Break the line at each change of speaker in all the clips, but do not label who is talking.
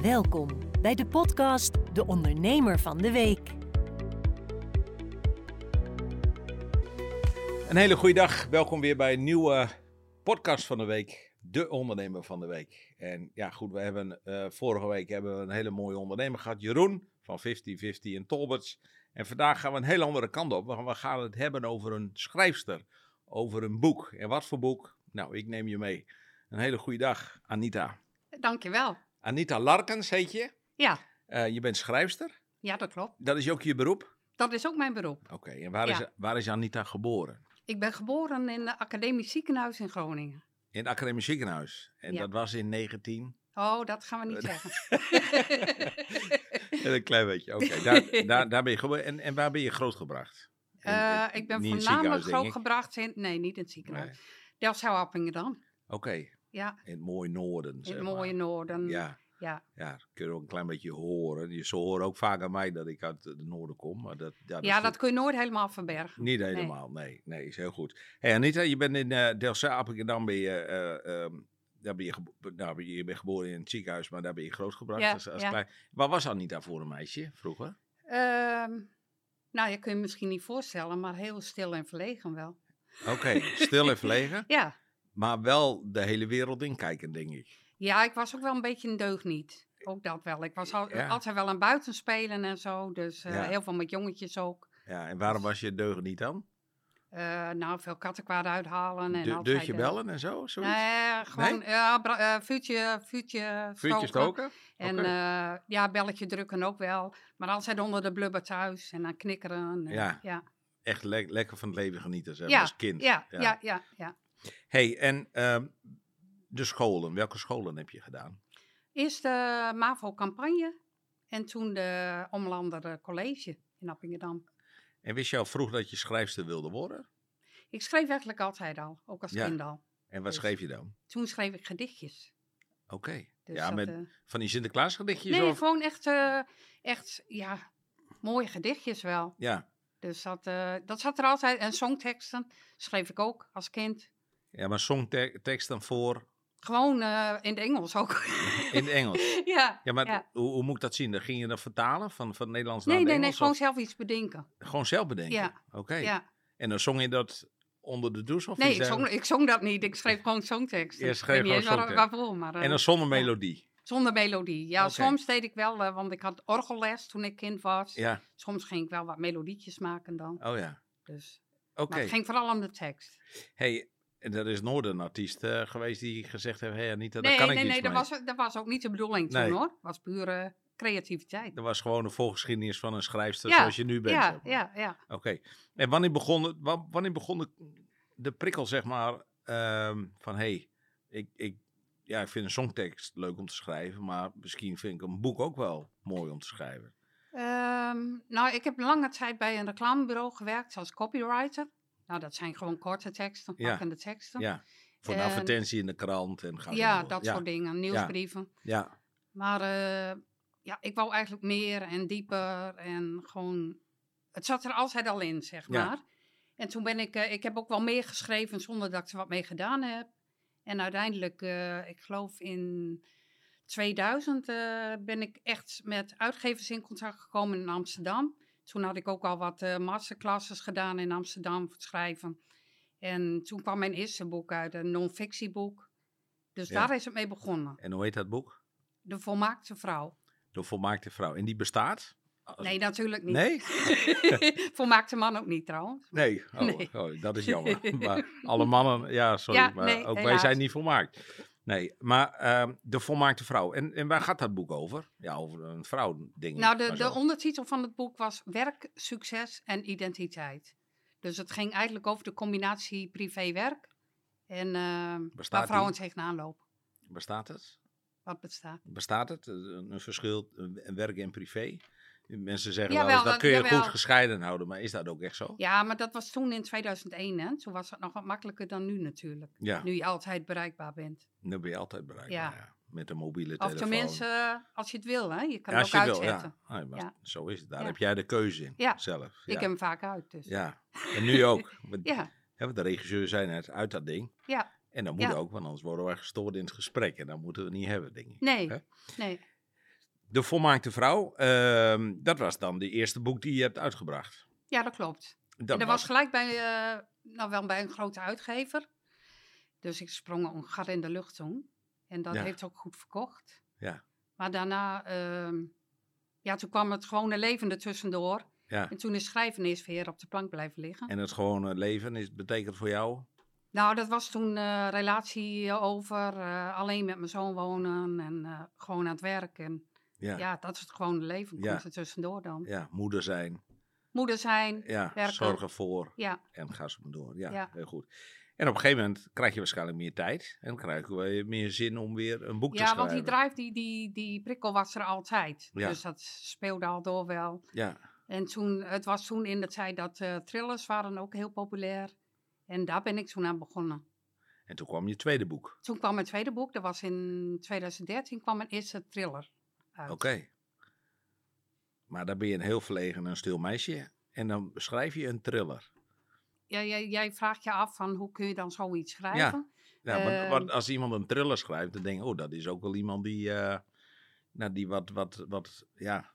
Welkom bij de podcast De Ondernemer van de Week.
Een hele goede dag. Welkom weer bij een nieuwe podcast van de week. De ondernemer van de week. En ja, goed, we hebben eh, vorige week hebben we een hele mooie ondernemer gehad. Jeroen van 5050 en Tolberts. En vandaag gaan we een heel andere kant op. We gaan- we gaan het hebben over een schrijfster. Over een boek. En wat voor boek? Nou, ik neem je mee. Een hele goede dag, Anita.
Dankjewel.
Anita Larkens heet je.
Ja,
Eh, je bent schrijfster.
ja, dat klopt.
Dat is ook je beroep.
Dat is ook mijn beroep.
Oké, en waar, is, waar is Anita geboren?
Ik ben geboren in het academisch ziekenhuis in Groningen.
In het academisch ziekenhuis. En
Ja.
dat was in 19...
Oh, dat gaan we
Eh,
niet zeggen.
En een klein beetje, oké. Daar, daar, daar ben je gebo- en, en waar ben je grootgebracht? In-
Eh,
in-
ik ben
niet in het
voornamelijk
ziekenhuis, denk ik.
grootgebracht in... Nee, niet in het ziekenhuis.
Nee.
Delfzijl-Appingen dan.
Oké,
Ja,
in het mooie noorden.
in het mooie noorden.
Ja,
ja.
ja, dat kun je ook een klein beetje horen. Je, ze horen ook vaak aan mij dat ik uit het noorden kom. Maar dat, ja,
Ja,
is
dat kun je nooit helemaal verbergen.
Niet helemaal, nee. nee. is heel goed. Hé Anita, je bent in eh Delfzijl-Appingedam ben je... eh, ehm, daar ben je, gebo- nou, ben je je bent geboren in het ziekenhuis, maar daar ben je grootgebracht.
Ja,
als, als
ja.
klein. Wat was Anita voor een meisje vroeger?
Ehm, nou, je kunt je misschien niet voorstellen, maar heel stil en verlegen wel.
Oké, stil en verlegen,
Ja.
maar wel de hele wereld inkijken, denk ik.
ja, ik was ook wel een beetje een deugniet. Ook dat wel. Ik was al-
Ja.
altijd wel aan buitenspelen en zo. Dus eh,
Ja.
heel veel met jongetjes ook.
Ja, en waarom was je deugd niet dan?
Eh, nou, veel kattenkwaad uithalen. En
Du
altijd,
durf je
eh,
bellen en zo? Zoiets?
Nee, gewoon ja, bra- eh, vuurtje, vuurtje,
Vuurtje stoken?
En
Oké.
eh, ja, belletje drukken ook wel. Maar altijd onder de blubber thuis en dan knikkeren. en-
Ja.
Ja.
Echt le- lekker van het leven genieten, zeg,
Ja,
als kind.
Ja,
Ja.
ja, ja, ja, ja.
hey, en ehm, de scholen. Welke scholen heb je gedaan?
Eerst de MAVO-campagne en toen de Omlander eh, College in Appingedam.
En wist je al vroeg dat je schrijfster wilde worden?
Ik schreef eigenlijk altijd al, ook als
Ja.
kind al.
En wat
Dus-
schreef je dan?
Toen schreef ik gedichtjes.
Oké.
Dus
ja,
dat,
met
eh,
van die Sinterklaasgedichtjes?
nee,
of...
gewoon echt, eh, echt, ja, mooie gedichtjes wel.
ja.
Dus dat, eh, dat zat er altijd. En songteksten schreef ik ook als kind.
ja, maar songtekst dan voor
Gewoon eh, in het Engels ook.
in het Engels.
ja.
Ja, maar
Ja.
Hoe, hoe moet ik dat zien? Dan ging je dat vertalen van, van het Nederlands naar
Nee,
het
nee, nee,
Engels?
gewoon
of-
zelf iets bedenken.
gewoon zelf bedenken?
Ja.
Oké.
Ja.
En dan zong je dat onder de douche? Of
Nee,
iets
ik zong,
dergelijks?
ik zong dat niet. Ik schreef gewoon songteksten.
Je
Ik
schreef
weet niet
gewoon
eens waar-
songteksten.
Waarvoor, maar eh,
En dan zonder melodie.
zonder melodie. Ja,
Oké.
soms deed ik wel, eh, want ik had orgelles toen ik kind was.
Ja,
Soms ging ik wel wat melodietjes maken dan.
oh ja.
Dus.
Oké.
Maar het ging vooral om de tekst.
Hey, en er is nooit een artiest eh, geweest die gezegd heeft, hé hey Anita, daar
nee,
kan
nee,
ik
nee,
niets
dat
mee.
was, dat was ook niet de bedoeling toen
Nee.
hoor. Het was pure creativiteit.
Er was gewoon een voorgeschiedenis van een schrijfster
Ja,
zoals je nu bent.
Ja,
zeg maar.
ja, ja.
Oké. En wanneer begon, het- wa- wanneer begon de, de prikkel, zeg maar, ehm, van hé, hey, ik, ik, ja, ik vind een songtekst leuk om te schrijven, maar misschien vind ik een boek ook wel mooi om te schrijven.
Ehm, nou, ik heb lange tijd bij een reclamebureau gewerkt als copywriter. Nou, dat zijn gewoon korte teksten,
Ja.
pakkende teksten. Ja,
Ja. Voor een
En-
advertentie in de krant en ga zo door.
dat
ja,
soort dingen, nieuwsbrieven.
Ja,
Maar eh, ja, ik wou eigenlijk meer en dieper en gewoon... Het zat er altijd al in, zeg
Ja.
maar. En toen ben ik... eh, ik heb ook wel meer geschreven zonder dat ik er wat mee gedaan heb. En uiteindelijk, eh, ik geloof in 2000, eh, ben ik echt met uitgevers in contact gekomen in Amsterdam. Toen had ik ook al wat eh, masterclasses gedaan in Amsterdam voor het schrijven. En toen kwam mijn eerste boek uit, een non-fictieboek. Dus
Ja.
daar is het mee begonnen.
en hoe heet dat boek?
De volmaakte vrouw.
De Volmaakte Vrouw. En die bestaat? Als-
Nee, natuurlijk niet.
Nee?
Volmaakte man ook niet trouwens.
Nee, oh,
Nee.
oh, dat is jammer. maar alle mannen, ja, sorry,
Ja,
maar
nee,
ook wij
helaas.
zijn niet volmaakt. Nee, maar ehm, de volmaakte vrouw. En, en waar gaat dat boek over? Ja, over een vrouw, ding.
Nou, de, de ondertitel van het boek was Werk, Succes en Identiteit. Dus het ging eigenlijk over de combinatie privé-werk en eh,
Bestaat
waar
die?
vrouwen tegenaan lopen.
Bestaat het?
Wat bestaat.
Bestaat het? Eh, Een, een verschil, een een werk en privé? Mensen zeggen wel
Jawel,
eens, dat
dat-
kun je
jawel.
goed gescheiden houden. Maar is dat ook echt zo?
Ja, maar dat was toen in 2001, hè? Toen was het nog wat makkelijker dan nu natuurlijk.
Ja,
Nu je altijd bereikbaar bent.
dan ben je altijd bereikbaar. Ja.
Ja.
Met een mobiele
Of
telefoon.
tenminste, eh, als je het wil, hè? Je kan
Ja,
het
als
ook
je wil,
uitzetten.
ja. Ah, maar
Ja.
Zo is het. Daar
Ja.
heb jij de keuze in
Ja.
zelf.
Ik heb hem vaak uit, dus.
ja, en nu ook. Want
ja.
Hè, want de regisseur zei net uit dat ding.
Ja.
En dat moet
Ja.
ook, want anders worden wij gestoord in het gesprek. En dat moeten we niet hebben, denk ik.
Nee,
Hè?
nee.
De Volmaakte Vrouw, ehm, dat was dan de eerste boek die je hebt uitgebracht.
Ja, dat klopt.
Dat
en dat was gelijk bij, eh, nou wel bij een grote uitgever. Dus ik sprong een gat in de lucht toen. En dat
Ja.
heeft ook goed verkocht.
Ja.
Maar daarna, ehm, ja, toen kwam het gewone leven er tussendoor.
Ja.
En toen is schrijven eerst weer op de plank blijven liggen.
En het gewone leven is, betekent voor jou?
Nou, dat was toen eh, relatie over, eh, alleen met mijn zoon wonen en eh, gewoon aan het werk. En ja.
Ja, ja.
dat is het gewone leven,
Ja.
komt er tussendoor dan.
moeder zijn.
Moeder zijn,
Ja,
Werken.
zorgen voor.
ja,
En ga zo maar door. Ja,
Ja.
heel goed. En op een gegeven moment krijg je waarschijnlijk meer tijd. En krijg je weer meer zin om weer een boek te
Ja,
schrijven.
want die drive, die, die, die prikkel was er altijd.
Ja.
Dus dat speelde al door wel.
Ja,
En toen, het was toen in de tijd dat eh, thrillers waren ook heel populair. En daar ben ik toen aan begonnen.
en toen kwam je tweede boek.
Toen kwam mijn tweede boek, dat was in 2013, kwam mijn eerste thriller uit.
Oké. Maar dan ben je een heel verlegen en stil meisje. En dan schrijf je een thriller.
Ja, jij, jij vraagt je af van hoe kun je dan zoiets schrijven?
Ja, Nou, want,
Ehm.
want als iemand een thriller schrijft, dan denk ik, oh, dat is ook wel iemand die, eh, nou, die wat, wat, wat, ja.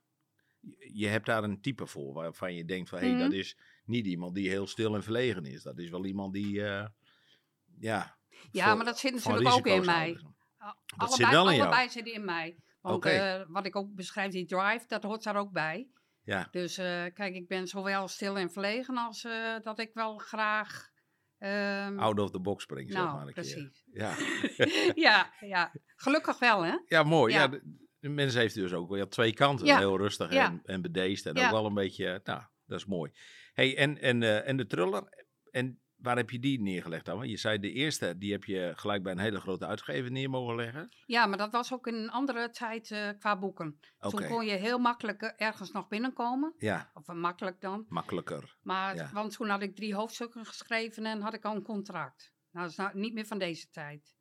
Je hebt daar een type voor waarvan je denkt van, hé,
Mhm.
dat is niet iemand die heel stil en verlegen is. Dat is wel iemand die, eh, ja.
Ja,
voor-
maar dat zit
van
natuurlijk ook in
risico's
mij.
houdt. Dat
allebei,
zit wel in jou.
allebei zitten in mij. Want
Oké.
eh, wat ik ook beschrijf, die drive, dat hoort daar ook bij.
Ja,
Dus eh, kijk, ik ben zowel stil en verlegen als eh, dat ik wel graag. ehm,
out of the box springen, zeg maar
nou,
een keer.
precies.
Ja.
ja, ja, gelukkig wel, hè?
Ja, mooi. Ja.
Ja.
de, de mens heeft dus ook wel twee kanten.
Ja.
Heel rustig
Ja.
en, en bedeesd. En
Ja.
ook wel een beetje, eh, nou, dat is mooi. Hey, en, en, eh, en de thriller, en waar heb je die neergelegd dan? Want je zei de eerste, die heb je gelijk bij een hele grote uitgever neer mogen leggen.
Ja, maar dat was ook in een andere tijd eh, qua boeken.
Oké,
Toen kon je heel makkelijk eh, ergens nog binnenkomen.
ja,
Of eh, makkelijk dan.
makkelijker.
Maar,
Ja.
Want toen had ik drie hoofdstukken geschreven en had ik al een contract. Nou, dat is nou niet meer van deze tijd.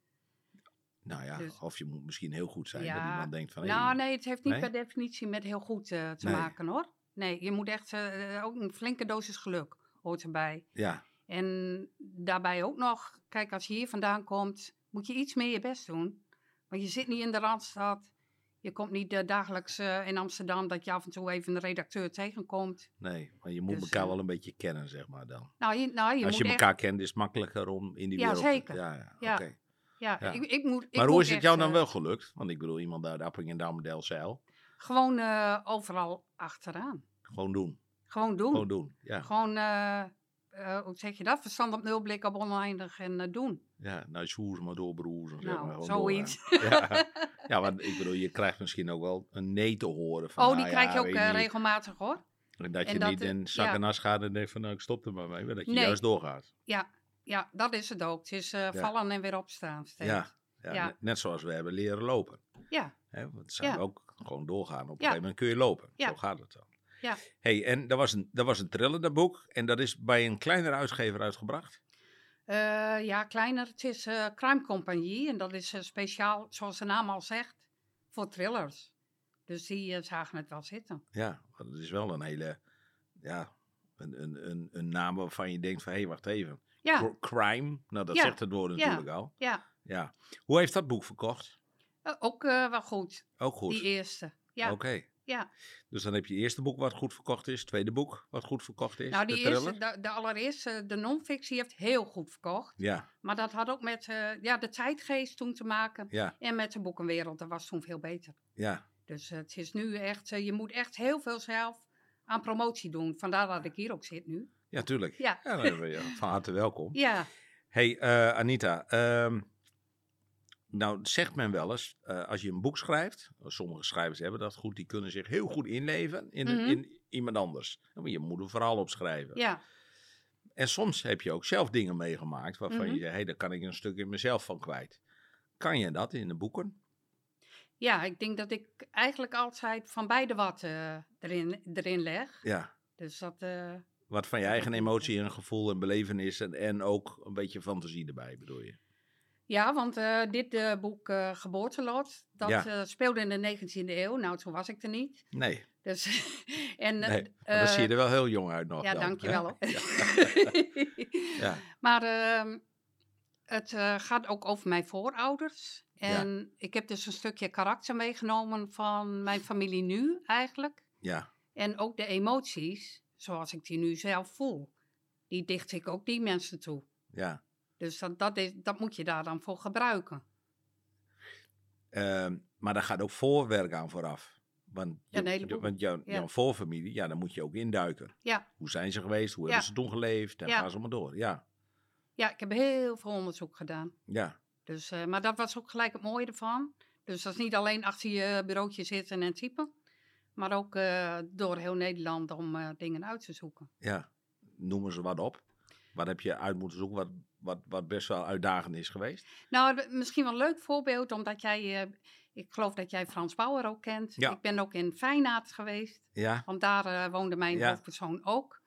Nou ja,
Dus-
of je moet misschien heel goed zijn dat
Ja.
iemand denkt van... hey,
Nou, nee, het heeft niet
Nee?
per definitie met heel goed eh, te
Nee.
maken hoor. Nee, je moet echt eh, ook een flinke dosis geluk hoort erbij.
Ja,
En daarbij ook nog, kijk, als je hier vandaan komt, moet je iets meer je best doen. Want je zit niet in de randstad. Je komt niet eh, dagelijks eh, in Amsterdam dat je af en toe even een redacteur tegenkomt.
nee, maar je moet
Dus,
elkaar
eh,
wel een beetje kennen, zeg maar dan.
Nou, je, nou, je
Als
moet
je
echt-
elkaar kent, is het makkelijker om in die
Ja,
wereld... te-
zeker.
Ja, ja,
Ja.
oké.
ja,
ja.
Ik, ik moet. ik
Maar hoe
moet
is het
echt,
jou dan
eh,
wel gelukt? Want ik bedoel, iemand uit Appingedam, Delzeil.
Gewoon eh, overal achteraan.
Gewoon doen.
Gewoon doen.
Gewoon doen. Ja.
Gewoon, eh, eh, hoe zeg je dat? Verstand op nul, blik op oneindig en eh, doen.
ja. Nou, sjoers maar door, broers. en zeg maar,
nou,
gewoon
zoiets.
doorgaan. Ja. ja, want ik bedoel, je krijgt misschien ook wel een nee te horen. Van,
oh, die
nou ja,
krijg je ook
weet
eh,
niet.
regelmatig hoor.
En dat je
en dat,
niet in
eh,
zak
ja.
en as gaat en denkt van, nou, ik stop er maar mee. Maar dat je
Nee.
juist doorgaat.
Ja, dat is het ook. Het is eh, vallen en weer opstaan steeds.
Ja. Ja,
Ja.
ne- Net zoals we hebben leren lopen.
Ja.
Hè, want zijn
Ja.
we ook gewoon doorgaan. Op een
Ja.
gegeven moment kun je lopen.
Ja.
Zo gaat het dan.
Ja.
Hey, en dat was, een, dat was een thriller, dat boek. En dat is bij een kleinere uitgever uitgebracht.
Eh, ja, kleiner. Het is eh Crime Compagnie en dat is eh, speciaal, zoals de naam al zegt, voor thrillers. Dus die eh, zagen het wel zitten.
Ja, want het is wel een hele, ja, een, een, een, een naam waarvan je denkt van, hé, wacht even.
Ja,
Cr- Crime, nou dat
Ja.
zegt het woord
Ja.
natuurlijk al.
ja.
Ja. Hoe heeft dat boek verkocht?
Eh, ook eh, wel goed,
Ook goed.
die eerste. Ja,
Oké.
ja.
Dus dan heb je eerste boek wat goed verkocht is, tweede boek wat goed verkocht is.
nou die
de
eerste,
thriller.
de, de allereerste, de non-fictie heeft heel goed verkocht.
Ja,
Maar dat had ook met eh, ja, de tijdgeest toen te maken
ja,
en met de boekenwereld. Dat was toen veel beter.
ja.
Dus eh, het is nu echt, eh, je moet echt heel veel zelf aan promotie doen. Vandaar dat ik hier ook zit nu.
Ja, tuurlijk.
Ja.
dan ben je van harte welkom.
Ja,
Hey eh, Anita, ehm, nou zegt men wel eens, eh, als je een boek schrijft, sommige schrijvers hebben dat goed, die kunnen zich heel goed inleven in,
Mhm.
in iemand anders. Dan moet Je moet een verhaal opschrijven.
ja,
En soms heb je ook zelf dingen meegemaakt waarvan
Mhm.
je zegt, hé, daar kan ik een stuk in mezelf van kwijt. Kan je dat in de boeken?
ja, ik denk dat ik eigenlijk altijd van beide wat eh, erin, erin leg.
Ja.
Dus dat, eh,
Wat van je
Dat
eigen
heb ik niet,
emotie en gevoel en belevenis en, en ook een beetje fantasie erbij, bedoel je?
ja, want eh, dit eh, boek eh Geboortelot, dat
Ja.
eh, speelde in de 19e eeuw. Nou, toen was ik er niet.
Nee,
Dus, en, eh,
nee. Maar dan zie je
eh,
er wel heel jong uit nog.
Ja,
dan,
dankjewel.
hè? Ja.
Ja.
Ja.
Maar ehm, het eh, gaat ook over mijn voorouders. En ik heb dus een stukje karakter meegenomen van mijn familie nu eigenlijk.
Ja,
En ook de emoties, zoals ik die nu zelf voel, die dicht ik ook die mensen toe.
ja.
Dus dat, dat, is, dat moet je daar dan voor gebruiken.
Ehm, maar daar gaat ook voorwerk aan vooraf. Want,
Ja, een
je-
heleboel.
want jouw,
Ja.
jouw voorfamilie, ja, daar moet je ook induiken.
Ja.
Hoe zijn ze geweest? Hoe
Ja.
hebben ze toen geleefd? En
Ja.
gaan ze maar door. Ja,
Ja, ik heb heel veel onderzoek gedaan.
ja,
Dus, eh, maar dat was ook gelijk het mooie ervan. Dus dat is niet alleen achter je bureautje zitten en typen. Maar ook eh, door heel Nederland om eh, dingen uit te zoeken.
ja. Noemen ze wat op. Wat heb je uit moeten zoeken wat, wat, wat best wel uitdagend is geweest?
Nou, d- misschien wel een leuk voorbeeld, omdat jij... eh, ik geloof dat jij Frans Bauer ook kent.
Ja.
Ik ben ook in Feyenaard geweest.
Ja,
Want daar eh, woonde mijn
Ja.
hoofdpersoon ook.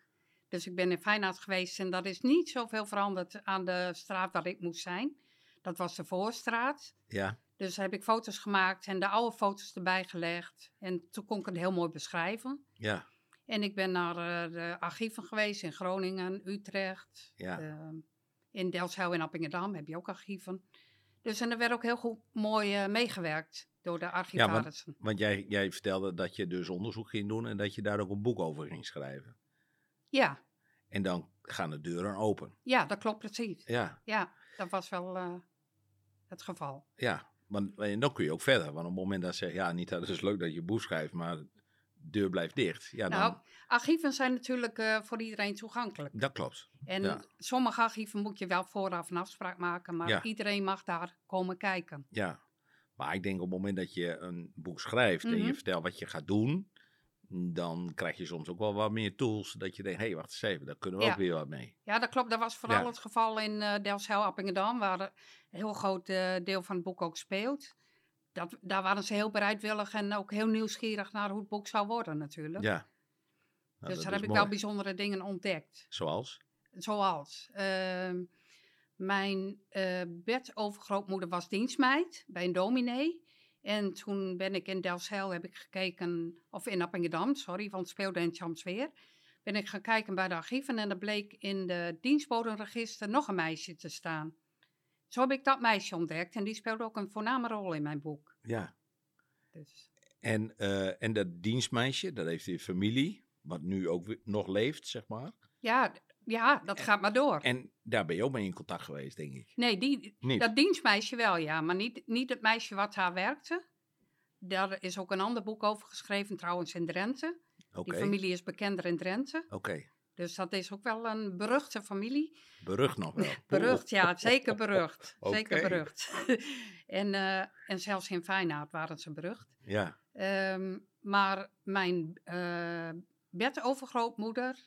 Dus ik ben in Feyenaard geweest en dat is niet zoveel veranderd aan de straat waar ik moest zijn. Dat was de Voorstraat.
ja,
Dus heb ik foto's gemaakt en de oude foto's erbij gelegd. En toen kon ik het heel mooi beschrijven.
ja,
En ik ben naar eh, de archieven geweest in Groningen, Utrecht.
ja.
ehm, in Delfzijl en Appingedam heb je ook archieven. Dus en er werd ook heel goed, mooi eh, meegewerkt door de archivarissen.
Want jij, jij vertelde dat je dus onderzoek ging doen en dat je daar ook een boek over ging schrijven.
Ja,
En dan gaan de deuren open.
ja, dat klopt precies.
Ja,
Ja, dat was wel eh, het geval.
Ja, want en dan kun je ook verder. Want op het moment dat ze zeggen, ja, niet dat het is leuk dat je boef schrijft, maar de deur blijft dicht. Ja, dan,
Nou, archieven zijn natuurlijk eh, voor iedereen toegankelijk.
dat klopt.
En
ja.
sommige archieven moet je wel vooraf een afspraak maken, maar
Ja.
iedereen mag daar komen kijken.
Ja. Maar ik denk op het moment dat je een boek schrijft en
Mhm.
je vertelt wat je gaat doen, dan krijg je soms ook wel wat meer tools dat je denkt, hé, hey, wacht eens even, daar kunnen we
Ja.
ook weer wat mee.
Ja, dat klopt. Dat was vooral
Ja.
het geval in eh Delfzijl, Appingedam, waar een heel groot eh, deel van het boek ook speelt. Dat, daar waren ze heel bereidwillig en ook heel nieuwsgierig naar hoe het boek zou worden natuurlijk.
Ja. Nou,
dus
dat
daar
is
heb ik
mooi.
wel bijzondere dingen ontdekt.
Zoals?
Zoals ehm, mijn eh bedovergrootmoeder was dienstmeid bij een dominee. En toen ben ik in Delfzijl, heb ik gekeken, of in Appingedam, sorry, want het speelde in Chamsweer. Ben ik gaan kijken bij de archieven en er bleek in de dienstbodenregister nog een meisje te staan. Zo heb ik dat meisje ontdekt en die speelde ook een voorname rol in mijn boek.
Ja.
Dus,
En, eh, en dat dienstmeisje, dat heeft die familie, wat nu ook weer- nog leeft, zeg maar.
ja, d- ja, dat gaat maar door.
En daar ben je ook mee in contact geweest, denk ik.
Nee, die,
Niet?
Dat dienstmeisje wel, ja. Maar niet, niet het meisje wat haar werkte. Daar is ook een ander boek over geschreven, trouwens in Drenthe.
Oké,
Die familie is bekender in Drenthe.
oké.
Dus dat is ook wel een beruchte familie.
Berucht nog wel.
Berucht, ja, zeker berucht. Zeker
Oké.
berucht. en, eh, en zelfs in Feyenaard waren ze berucht.
Ja,
Ehm, maar mijn eh bedovergrootmoeder,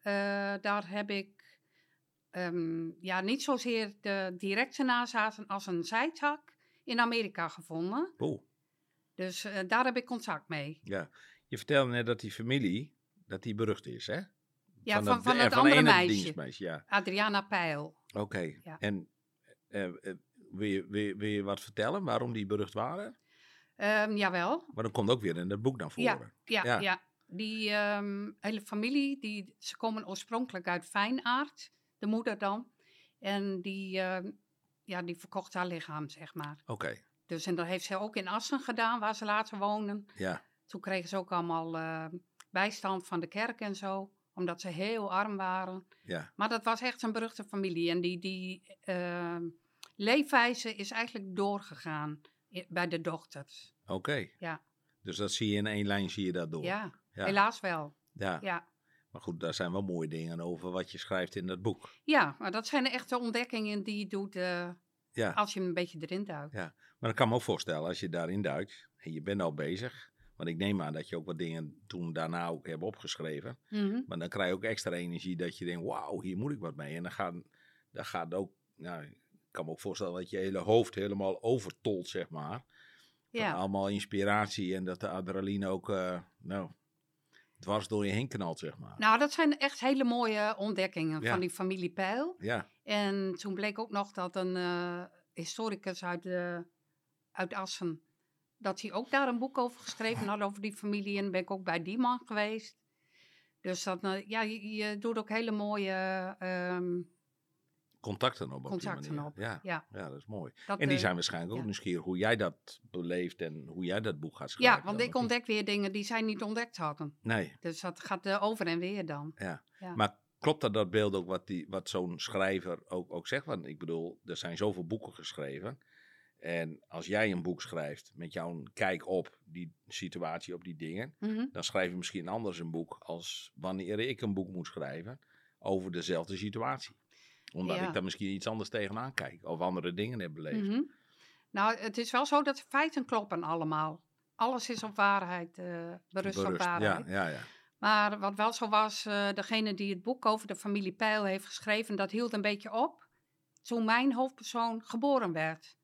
eh, daar heb ik ehm, ja, niet zozeer de directe nazaten als een zijtak in Amerika gevonden.
oeh,
Dus eh, daar heb ik contact mee.
ja. Je vertelde net dat die familie, dat die berucht is, hè?
Ja, van,
dat-
van,
eh,
het
van
andere
ene
meisje,
dienstmeisje, ja.
Adriana Peil.
Oké,
Ja.
en eh, eh, wil, je, wil, je, wil je wat vertellen waarom die berucht waren?
Ehm, jawel,
Maar dat komt ook weer in het boek naar voren.
ja,
Ja.
ja. Die ehm, hele familie, die, ze komen oorspronkelijk uit Fijnaard, de moeder dan. En die, ehm, ja, die verkocht haar lichaam, zeg maar.
Oké,
Dus en dat heeft ze ook in Assen gedaan, waar ze later wonen.
ja,
Toen kregen ze ook allemaal eh, bijstand van de kerk en zo, omdat ze heel arm waren.
ja,
Maar dat was echt een beruchte familie. En die, die eh, leefwijze is eigenlijk doorgegaan i- bij de dochters.
oké.
Ja.
Dus dat zie je in één lijn, zie je dat door.
Ja,
ja.
helaas wel.
Ja.
Ja.
Maar goed, daar zijn wel mooie dingen over wat je schrijft in dat boek.
ja, maar dat zijn echt de ontdekkingen die je doet eh,
Ja.
als je een beetje erin duikt.
Ja. Maar ik kan me ook voorstellen, als je daarin duikt en je bent al bezig. Want ik neem aan dat je ook wat dingen toen daarna ook hebt opgeschreven.
Mhm.
Maar dan krijg je ook extra energie dat je denkt, wauw, hier moet ik wat mee. En dan gaat, dan gaat ook, nou, ik kan me ook voorstellen dat je hele hoofd helemaal overtolt, zeg maar. Van
Ja.
Allemaal inspiratie en dat de adrenaline ook, eh, nou, dwars door je heen knalt, zeg maar.
Nou, dat zijn echt hele mooie ontdekkingen
Ja.
van die familie Peil.
ja,
En toen bleek ook nog dat een eh, historicus uit, eh, uit Assen, dat hij ook daar een boek over geschreven had over die familie. En ben ik ook bij die man geweest. Dus dat, eh, ja, je, je doet ook hele mooie ehm,
contacten op. op die
Contacten
manier.
op,
Ja.
ja.
ja, dat is mooi.
Dat,
En die
eh,
zijn waarschijnlijk ook
ja.
nieuwsgierig hoe jij dat beleeft en hoe jij dat boek gaat schrijven.
ja, want
dan,
ik
of niet?
ontdek weer dingen die zij niet ontdekt hadden.
Nee,
Dus dat gaat eh, over en weer dan. Ja.
maar klopt dat dat beeld ook wat, die, wat zo'n schrijver ook, ook zegt? Want ik bedoel, er zijn zoveel boeken geschreven. En als jij een boek schrijft met jouw kijk op die situatie, op die dingen,
Mhm.
dan schrijf je misschien anders een boek als wanneer ik een boek moet schrijven over dezelfde situatie. Omdat
Ja.
ik daar misschien iets anders tegenaan kijk of andere dingen heb beleefd.
Mhm. Nou, het is wel zo dat de feiten kloppen allemaal. Alles is op waarheid, eh, berust, op
Berust.
waarheid.
Ja, ja, ja.
Maar wat wel zo was, eh, degene die het boek over de familie Peil heeft geschreven, dat hield een beetje op toen mijn hoofdpersoon geboren werd.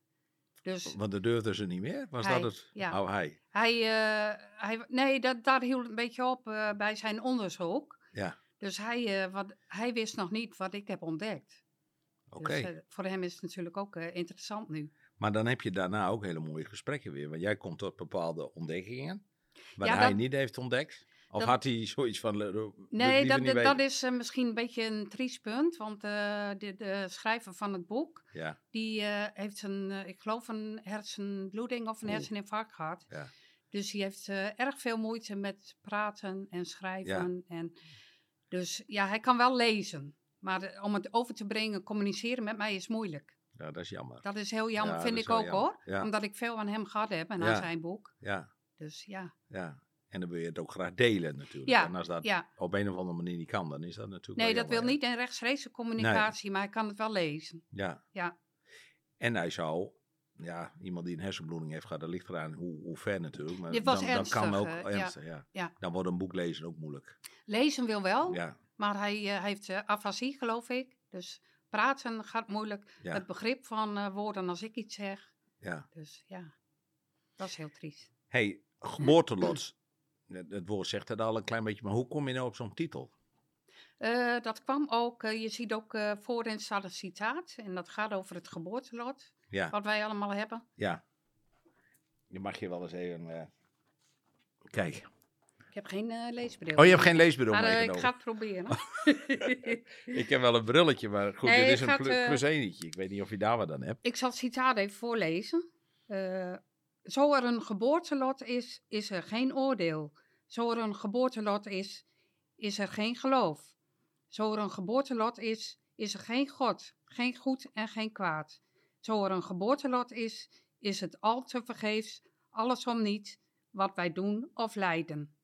Dus
Want dat durfden ze niet meer? Was
Hij,
dat het?
ja. Dus
Oh, hij.
hij, eh, hij nee, dat, daar hield het een beetje op eh, bij zijn onderzoek.
Ja.
Dus hij, eh, wat, hij wist nog niet wat ik heb ontdekt.
Oké.
Dus eh, voor hem is het natuurlijk ook eh, interessant nu.
Maar dan heb je daarna ook hele mooie gesprekken weer. Want jij komt tot bepaalde ontdekkingen. Wat
Ja,
hij
dat-
niet heeft ontdekt. Of
dat-
had hij zoiets van. eh, doe- doe het
Nee,
liever
dat,
niet
dat,
weten.
dat is eh, misschien een beetje een triest punt. Want eh, de, de schrijver van het boek,
Ja,
die eh, heeft een, eh, ik geloof een hersenbloeding of een
Oeh.
herseninfarct gehad.
Ja.
Dus die heeft eh, erg veel moeite met praten en schrijven. En, dus ja, hij kan wel lezen. Maar eh, om het over te brengen, communiceren met mij is moeilijk.
ja, dat is jammer.
Dat is heel jammer,
Ja, dat
vind
is
ik
wel
ook
jammer.
hoor.
Ja.
Omdat ik veel aan hem gehad heb en
Ja.
aan zijn boek.
Ja,
Dus ja,
ja. En dan wil je het ook graag delen natuurlijk.
Ja,
en als dat
ja.
op een of andere manier niet kan, dan is dat natuurlijk.
nee,
wel
dat wil
jammer,
niet in rechtstreekse communicatie, maar hij kan het wel lezen.
hè. Ja.
Ja.
En hij zou. Ja, iemand die een hersenbloeding heeft gehad, dat ligt eraan hoe, hoe ver natuurlijk. Maar
Dit was
dan,
ernstig,
dat kan ook
eh, ja.
ernstig, ja.
Ja. Oh.
Dan wordt een boek lezen ook moeilijk.
Lezen wil wel,
Ja,
maar hij eh, heeft eh, afasie, geloof ik. Dus praten gaat moeilijk.
ja,
Het begrip van eh, woorden als ik iets zeg.
ja.
Dus ja, dat is heel triest.
Hey, geboortelot. Het het woord zegt het al een klein beetje, maar hoe kom je nou op zo'n titel?
Eh, dat kwam ook, eh, je ziet ook eh, voorin staat een citaat. En dat gaat over het geboortelot,
Ja,
wat wij allemaal hebben.
ja. Je mag je wel eens even... eh, Kijk.
Ik heb geen eh, leesbril.
Oh, je hebt geen leesbril
Maar eh, ik
meegenomen.
ga het proberen.
Ik heb wel een brilletje, maar goed,
Nee,
dit
ik
is
ga
een
het,
plu-
eh,
plus eentje. Ik weet niet of je daar wat aan hebt.
ik zal het citaat even voorlezen. Eh, zo er een geboortelot is, is er geen oordeel. Zo er een geboortelot is, is er geen geloof. Zo er een geboortelot is, is er geen God, geen goed en geen kwaad. Zo er een geboortelot is, is het al te vergeefs, allesom niet, wat wij doen of lijden.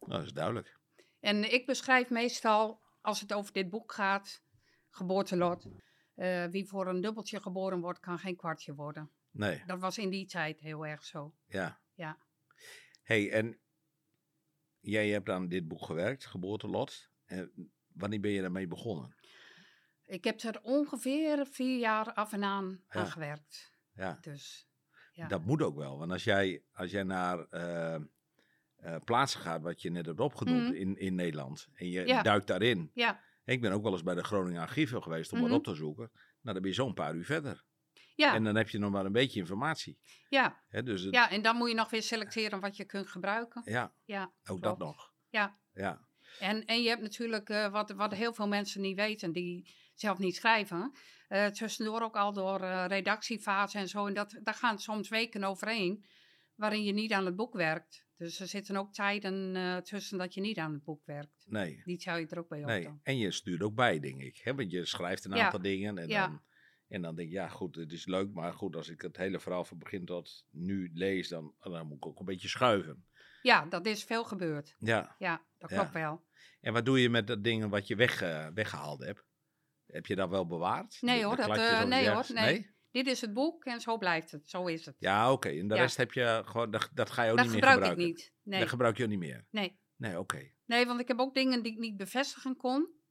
Nou, dat is duidelijk.
En ik beschrijf meestal, als het over dit boek gaat, geboortelot. eh, wie voor een dubbeltje geboren wordt, kan geen kwartje worden.
Nee,
Dat was in die tijd heel erg zo.
ja.
Ja.
hey, en jij hebt aan dit boek gewerkt, Geboortelot. En wanneer ben je daarmee begonnen?
Ik heb er ongeveer vier jaar af en aan
Ja.
aan gewerkt.
Ja.
Dus ja.
Dat moet ook wel. Want als jij, als jij naar eh, eh, plaatsen gaat, wat je net hebt opgenoemd
Mhm.
in, in Nederland. En je
Ja.
duikt daarin.
ja,
Ik ben ook wel eens bij de Groningen Archieven geweest om
Mhm.
wat op te zoeken. Nou, dan ben je zo'n paar uur verder.
ja,
En dan heb je nog maar een beetje informatie.
ja,
Hè, dus het-
ja. En dan moet je nog weer selecteren wat je kunt gebruiken.
ja,
Ja,
ook dat
klopt.
nog.
Ja.
Ja,
En, en je hebt natuurlijk, eh, wat, wat heel veel mensen niet weten, die zelf niet schrijven, eh, tussendoor ook al door eh, redactiefase en zo. En dat, daar gaan soms weken overheen waarin je niet aan het boek werkt. Dus er zitten ook tijden eh, tussen dat je niet aan het boek werkt.
nee.
Die zou je er ook bij op
nee.
dan.
En je stuurt ook bij, denk ik. Hè? Want je schrijft een
Ja.
aantal dingen en
Ja.
dan... En dan denk ik, ja goed, het is leuk, maar goed, als ik het hele verhaal van begin tot nu lees, dan, dan moet ik ook een beetje schuiven.
Ja, dat is veel gebeurd.
Ja,
Ja, dat
Ja.
klopt wel.
En wat doe je met dat ding wat je weg, eh, weggehaald hebt? Heb je dat wel bewaard?
Nee
De- de
hoor, dat,
kladjes
eh,
of
nee hoor,
ergens?
nee. Dit is het boek en zo blijft het. Zo is het.
Ja, oké. En de
Ja.
rest heb je gewoon, dat, dat ga je ook
dat
niet meer
gebruik ik
gebruiken.
niet. Nee.
Dat gebruik je ook niet meer.
nee.
Nee, oké.
nee, want ik heb ook dingen die ik niet bevestigen kon.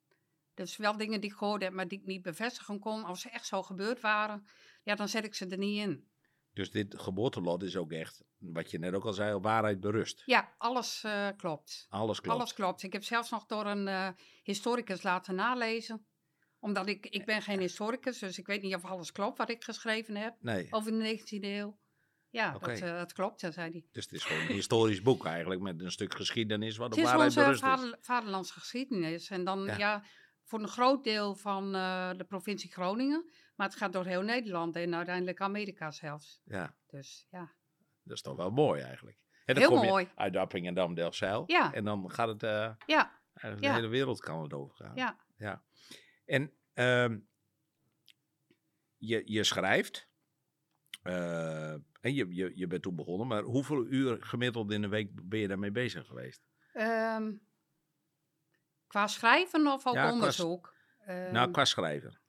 Dus wel dingen die ik gehoord heb, maar die ik niet bevestigen kon. Als ze echt zo gebeurd waren, ja, dan zet ik ze er niet in.
Dus dit geboortelot is ook echt, wat je net ook al zei, op waarheid berust.
Ja, alles eh, klopt.
Alles klopt.
Alles klopt. Ik heb zelfs nog door een eh, historicus laten nalezen. Omdat ik, ik ben geen historicus, dus ik weet niet of alles klopt wat ik geschreven heb
Nee,
over de 19e eeuw. Ja,
Oké.
dat, eh, dat klopt, dat zei hij.
dus het is gewoon een historisch boek eigenlijk, met een stuk geschiedenis wat
Het
op
is
waarheid
onze
berust is.
vader, vaderlandse geschiedenis. En dan,
Ja.
ja. voor een groot deel van eh, de provincie Groningen. Maar het gaat door heel Nederland en uiteindelijk Amerika zelfs.
Ja,
Dus ja,
dat is toch wel mooi eigenlijk. En dan
Heel
kom je
mooi.
Uit Dapping en Damdelzeil.
Ja.
En dan gaat het, eh,
ja,
eigenlijk
Ja.
de hele wereld kan het overgaan.
ja.
En ehm, je, je schrijft. eh, en je, je, je bent toen begonnen, maar hoeveel uur gemiddeld in de week ben je daarmee bezig geweest?
Ehm, qua schrijven of ook
Ja, qua s-
onderzoek? Ehm,
nou, qua schrijven.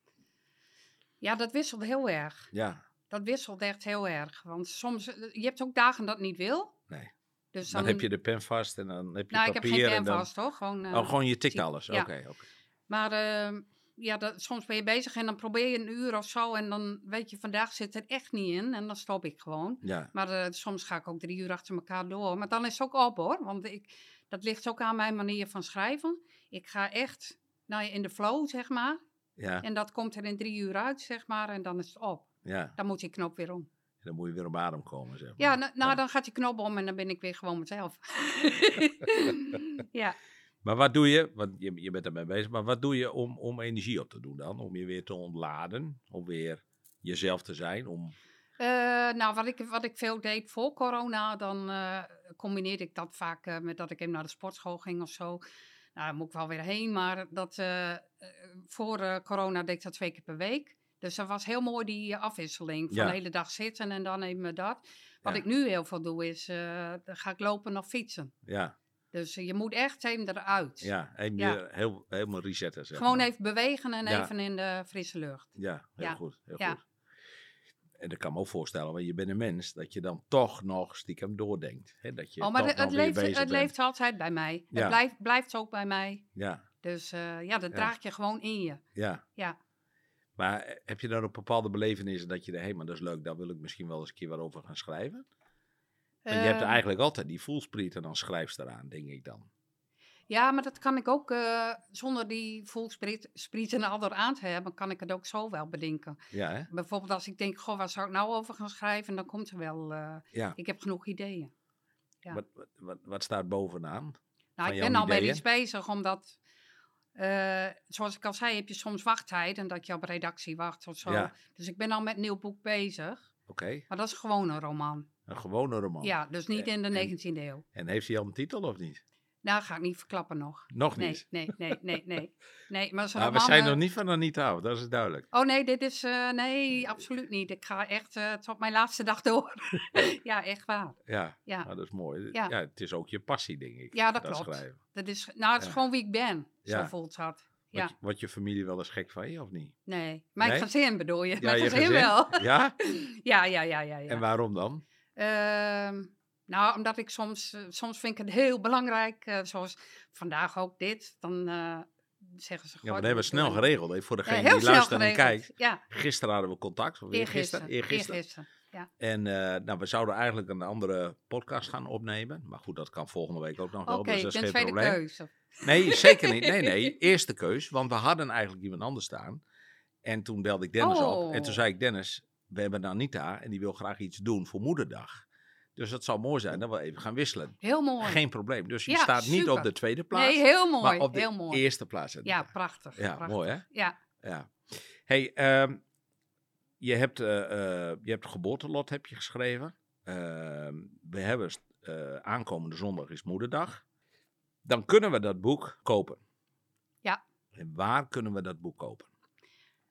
Ja, dat wisselt heel erg.
Ja.
Dat wisselt echt heel erg. Want soms, eh, je hebt ook dagen dat het niet wil.
Nee.
Dus
Dan,
dan,
heb je de pen vast en dan heb je
Nou, ik
papier.
heb geen
en dan,
canvas, toch? Gewoon, eh,
Oh, gewoon je tikt
zie-
alles. Oké,
ja.
oké.
Maar ehm, ja, dat, soms ben je bezig en dan probeer je een uur of zo. En dan weet je, vandaag zit er echt niet in. En dan stop ik gewoon.
Ja,
Maar eh, soms ga ik ook drie uur achter elkaar door. Maar dan is het ook op hoor. Want ik, dat ligt ook aan mijn manier van schrijven. Ik ga echt nou, ja, in de flow, zeg maar.
ja,
En dat komt er in drie uur uit, zeg maar, en dan is het op.
ja.
Dan moet die knop weer om.
Dan moet je weer op adem komen, zeg maar.
Ja, nou, nou,
Ja.
dan gaat die knop om en dan ben ik weer gewoon mezelf. ja.
Maar wat doe je, want je, je bent ermee bezig, maar wat doe je om, om energie op te doen dan? Om je weer te ontladen, om weer jezelf te zijn, om...
Eh, nou, wat ik, wat ik veel deed voor corona, dan eh, combineerde ik dat vaak eh, met dat ik even naar de sportschool ging of zo. Nou, daar moet ik wel weer heen, maar dat, eh, eh, voor eh, corona deed ik dat twee keer per week. Dus dat was heel mooi die eh, afwisseling van
Ja.
de hele dag zitten en dan even dat. Wat
Ja.
ik nu heel veel doe is, eh, dan ga ik lopen of fietsen.
Ja,
Dus eh, je moet echt even eruit.
ja, en
Ja.
weer heel, helemaal resetten, zeg
Gewoon
maar.
even bewegen en
Ja.
even in de frisse lucht.
Ja, heel
Ja.
goed, heel
Ja.
goed. En dat kan me ook voorstellen, want je bent een mens, dat je dan toch nog stiekem doordenkt. Hè? Dat je
oh, maar
toch
het,
nog
het
weer
leeft,
bezig
het
bent.
leeft altijd bij mij.
Ja.
Het blijft, blijft ook bij mij.
Ja,
Dus eh, ja, dat
Ja.
draag je gewoon in je.
ja.
Ja.
Maar eh, heb je dan ook bepaalde belevenissen dat je denkt, hé, maar dat is leuk, daar wil ik misschien wel eens een keer wat over gaan schrijven? Want je hebt
Eh,
eigenlijk altijd die voelspriet en dan schrijfster aan, denk ik dan.
Ja, maar dat kan ik ook eh, zonder die voelspriet en ander aan te hebben, kan ik het ook zo wel bedenken.
Ja, hè?
Bijvoorbeeld als ik denk, goh, waar zou ik nou over gaan schrijven? Dan komt er wel, eh,
Ja.
ik heb genoeg ideeën. Ja.
Wat, wat, wat, wat staat bovenaan?
Nou,
Van
ik
jouw
ben al wel
ideeën?
iets bezig, omdat, eh, zoals ik al zei, heb je soms wachttijd en dat je op redactie wacht of zo.
Ja.
Dus ik ben al met een nieuw boek bezig,
Oké,
maar dat is gewoon een roman.
een gewone roman.
Ja, dus niet in de
Oh, eh, en-
19e eeuw.
En heeft hij al een titel of niet?
Nou, ga ik niet verklappen nog.
Nog
Nee,
niet.
nee, nee, nee, nee. nee maar
Maar
zo'n
Nou, we
roman,
zijn
eh,
nog niet van Anita af, dat is duidelijk.
Oh nee, dit is. eh, nee, absoluut niet. Ik ga echt eh, tot mijn laatste dag door. ja, echt waar.
Ja,
Ja,
nou, dat is mooi. Ja.
Ja.
het is ook je passie, denk ik.
Ja, dat klopt.
schrijven.
dat is, nou, het is
Ja.
gewoon wie ik ben. Zo
Ja.
voelt dat. Ja,
Wordt, je- wordt je familie wel eens gek van je of niet?
nee. Mijn
Nee?
gezin bedoel je.
ja,
mijn
je
gezin,
gezin?
wel.
Ja?
ja, ja, ja, ja. ja.
En waarom dan?
Ehm, nou, omdat ik soms, eh, soms vind ik het heel belangrijk, eh, zoals vandaag ook dit, dan eh, zeggen ze
Ja,
gewoon.
maar dat hebben we snel geregeld. Hè? Voor degene
heel
die
snel
luistert en
geregeld.
kijkt.
Ja,
Gisteren hadden we contact. Of
eergisteren.
eergisteren. Eergisteren.
Eergisteren.
En eh, nou, we zouden eigenlijk een andere podcast gaan opnemen. Maar goed, dat kan volgende week ook nog
Oké,
wel. dus dat
ik
is
ben
geen
tweede
probleem.
keuze.
Nee, zeker niet. Nee, nee. Eerste keus. Want we hadden eigenlijk iemand anders staan. En toen belde ik Dennis op. En toen
Oh.
zei ik, Dennis, we hebben Anita en die wil graag iets doen voor moederdag. Dus dat zou mooi zijn dat we even gaan wisselen.
Heel mooi.
Geen probleem. Dus je
Ja,
staat niet op
super.
de tweede plaats,
nee, heel mooi.
maar op de
heel mooi.
eerste plaats. Anita.
Ja, prachtig.
ja
prachtig.
mooi hè?
Ja,
Ja. Hey, ehm, je, hebt, eh eh, je hebt geboortelot heb je geschreven. Ehm, we hebben st- eh, aankomende zondag is moederdag. Dan kunnen we dat boek kopen.
Ja. Oh,
En waar kunnen we dat boek kopen?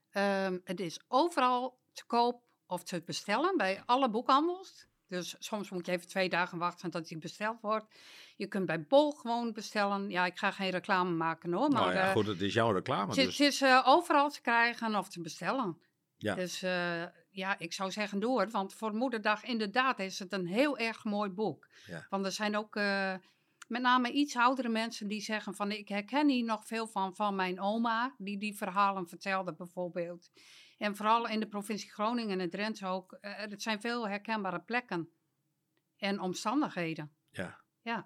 ehm, het is overal te koop of te bestellen bij alle boekhandels. Dus soms moet je even twee dagen wachten dat die besteld wordt. Je kunt bij Bol gewoon bestellen. Ja, ik ga geen reclame maken hoor, maar
nou ja,
eh,
goed, het is jouw reclame.
het is,
Dus,
het is, eh, overal te krijgen of te bestellen.
Ja.
Dus eh, ja, ik zou zeggen doe het, want voor Moederdag inderdaad is het een heel erg mooi boek.
Ja.
Want er zijn ook eh, met name iets oudere mensen die zeggen van ik herken hier nog veel van van mijn oma, die die verhalen vertelde bijvoorbeeld. En vooral in de provincie Groningen en Drenthe ook, eh, het zijn veel herkenbare plekken en omstandigheden.
ja.
Ja,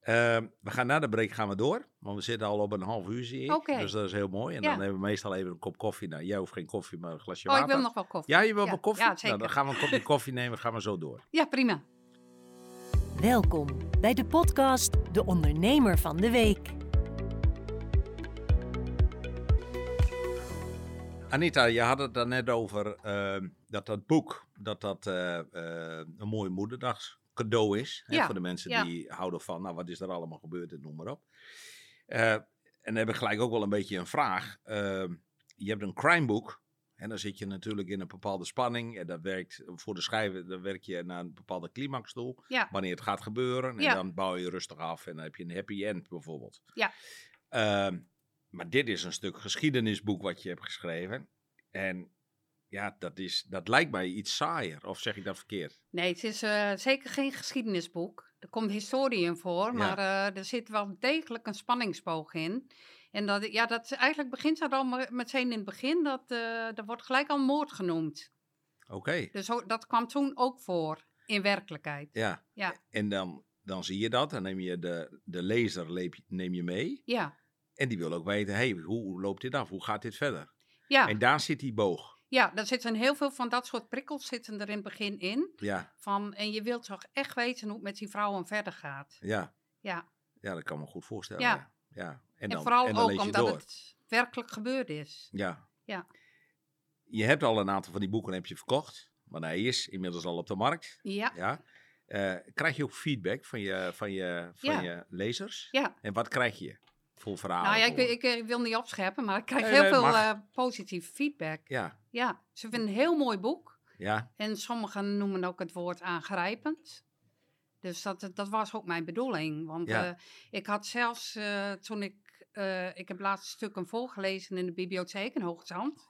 Ehm, we gaan na de break gaan we door, want we zitten al op een half uur zie ik.
Oké.
Dus dat is heel mooi. En
Ja.
dan hebben we meestal even een kop koffie. Nou, jij hoeft geen koffie, maar een glasje
oh, ik
water.
wil nog wel koffie.
Ja, je wil
Ja.
wel koffie?
Ja,
Nou,
zeker.
dan gaan we een kopje koffie nemen, gaan we zo door.
ja prima.
Welkom bij de podcast De Ondernemer van de Week.
Anita, je had het daarnet over ehm, dat dat boek dat dat, eh, eh, een mooi moederdags cadeau is. Hè,
Ja,
voor de mensen
ja.
die houden van, nou wat is er allemaal gebeurd en noem maar op. Eh, en dan heb ik gelijk ook wel een beetje een vraag. Ehm, je hebt een crimeboek en dan zit je natuurlijk in een bepaalde spanning. En dat werkt eh, voor de schrijver, dan werk je naar een bepaalde climax toe
Ja.
wanneer het gaat gebeuren. En
Ja.
dan bouw je rustig af en dan heb je een happy end bijvoorbeeld.
Ja.
Ehm, maar dit is een stuk geschiedenisboek wat je hebt geschreven. En ja, dat, is, dat lijkt mij iets saaier. Of zeg ik dat verkeerd?
Nee, het is eh, zeker geen geschiedenisboek. Er komt historie in voor, maar eh, er zit wel degelijk een spanningsboog in. En dat, ja, dat, is- eigenlijk begint dat al me- meteen in het begin, dat eh, er wordt gelijk al moord genoemd.
Oké.
Dus ook- dat kwam toen ook voor, in werkelijkheid.
Ja.
Ja.
En dan, dan zie je dat. Dan neem je de, de lezer leep- neem je mee.
Ja,
En die wil ook weten, hey, hoe loopt dit af? Hoe gaat dit verder?
ja,
En daar zit die boog.
ja, daar zitten heel veel van dat soort prikkels zitten er in het begin in.
Ja,
Van, en je wilt toch echt weten hoe het met die vrouwen verder gaat.
ja.
Ja,
Ja, dat kan me goed voorstellen.
Ja.
Ja. ja.
en,
dan,
vooral
en dan lees
ook
je
omdat
door.
het werkelijk gebeurd is.
Ja.
Ja.
Je hebt al een aantal van die boeken heb je verkocht. Want hij is inmiddels al op de markt.
Ja.
Ja. Eh, krijg je ook feedback van je, van je, van
Ja.
je lezers?
Ja.
En wat krijg je voor verhalen?
Nou ja, ik,
voor-
wil- ik, eh, wil niet opscheppen, maar ik krijg
Ah, Nee,
heel
nee,
veel
mag.
eh, positieve feedback.
Ja,
Ja, ze vinden het een heel mooi boek.
ja,
En sommigen noemen ook het woord aangrijpend. Dus dat, dat was ook mijn bedoeling. Want
Ja.
eh, ik had zelfs eh, toen ik... eh, ik heb laatst stukken voorgelezen in de bibliotheek in Hoogzand.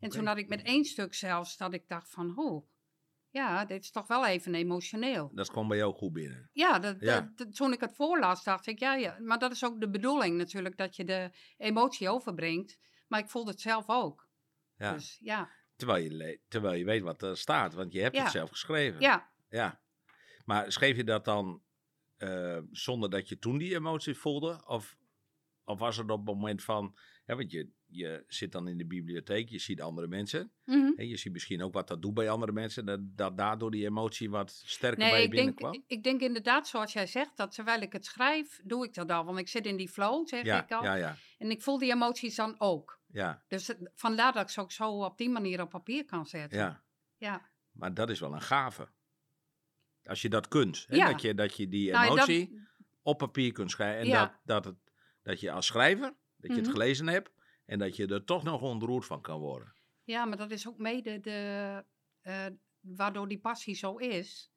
En toen
Oké.
had ik met één stuk zelfs dat ik dacht van... Hoe, ja, dit is toch wel even emotioneel.
dat kwam bij jou goed binnen.
Ja, dat,
Ja.
dat- dat- toen ik het voorlas dacht ik, ja, ja, maar dat is ook de bedoeling natuurlijk, dat je de emotie overbrengt. Maar ik voelde het zelf ook.
Ja.
Dus ja,
Terwijl, je le- terwijl je weet wat er staat, want je hebt
Ja.
het zelf geschreven.
ja,
Ja. Maar schreef je dat dan eh, zonder dat je toen die emotie voelde? Of, of was het op het moment van... Hè, want je, je zit dan in de bibliotheek, je ziet andere mensen.
mhm.
Hè, je ziet misschien ook wat dat doet bij andere mensen. Dat, dat daardoor die emotie wat sterker bij
Nee,
je
ik denk,
binnenkwam.
ik, ik denk inderdaad, zoals jij zegt, dat terwijl ik het schrijf, doe ik dat al. Want ik zit in die flow, zeg
ja,
ik al.
ja, ja,
En ik voel die emoties dan ook.
ja,
Dus het- vandaar dat ik ze ook zo op die manier op papier kan zetten.
ja.
Ja.
Maar dat is wel een gave. Als je dat kunt. Hè?
Ja.
Dat, je, dat je die
Nou, en dat-
emotie op papier kunt schrijven. En
Ja.
dat, dat, het, dat je als schrijver, dat je het
Mhm.
gelezen hebt. En dat je er toch nog ontroerd van kan worden.
Ja, maar dat is ook mede de, eh, waardoor die passie zo is.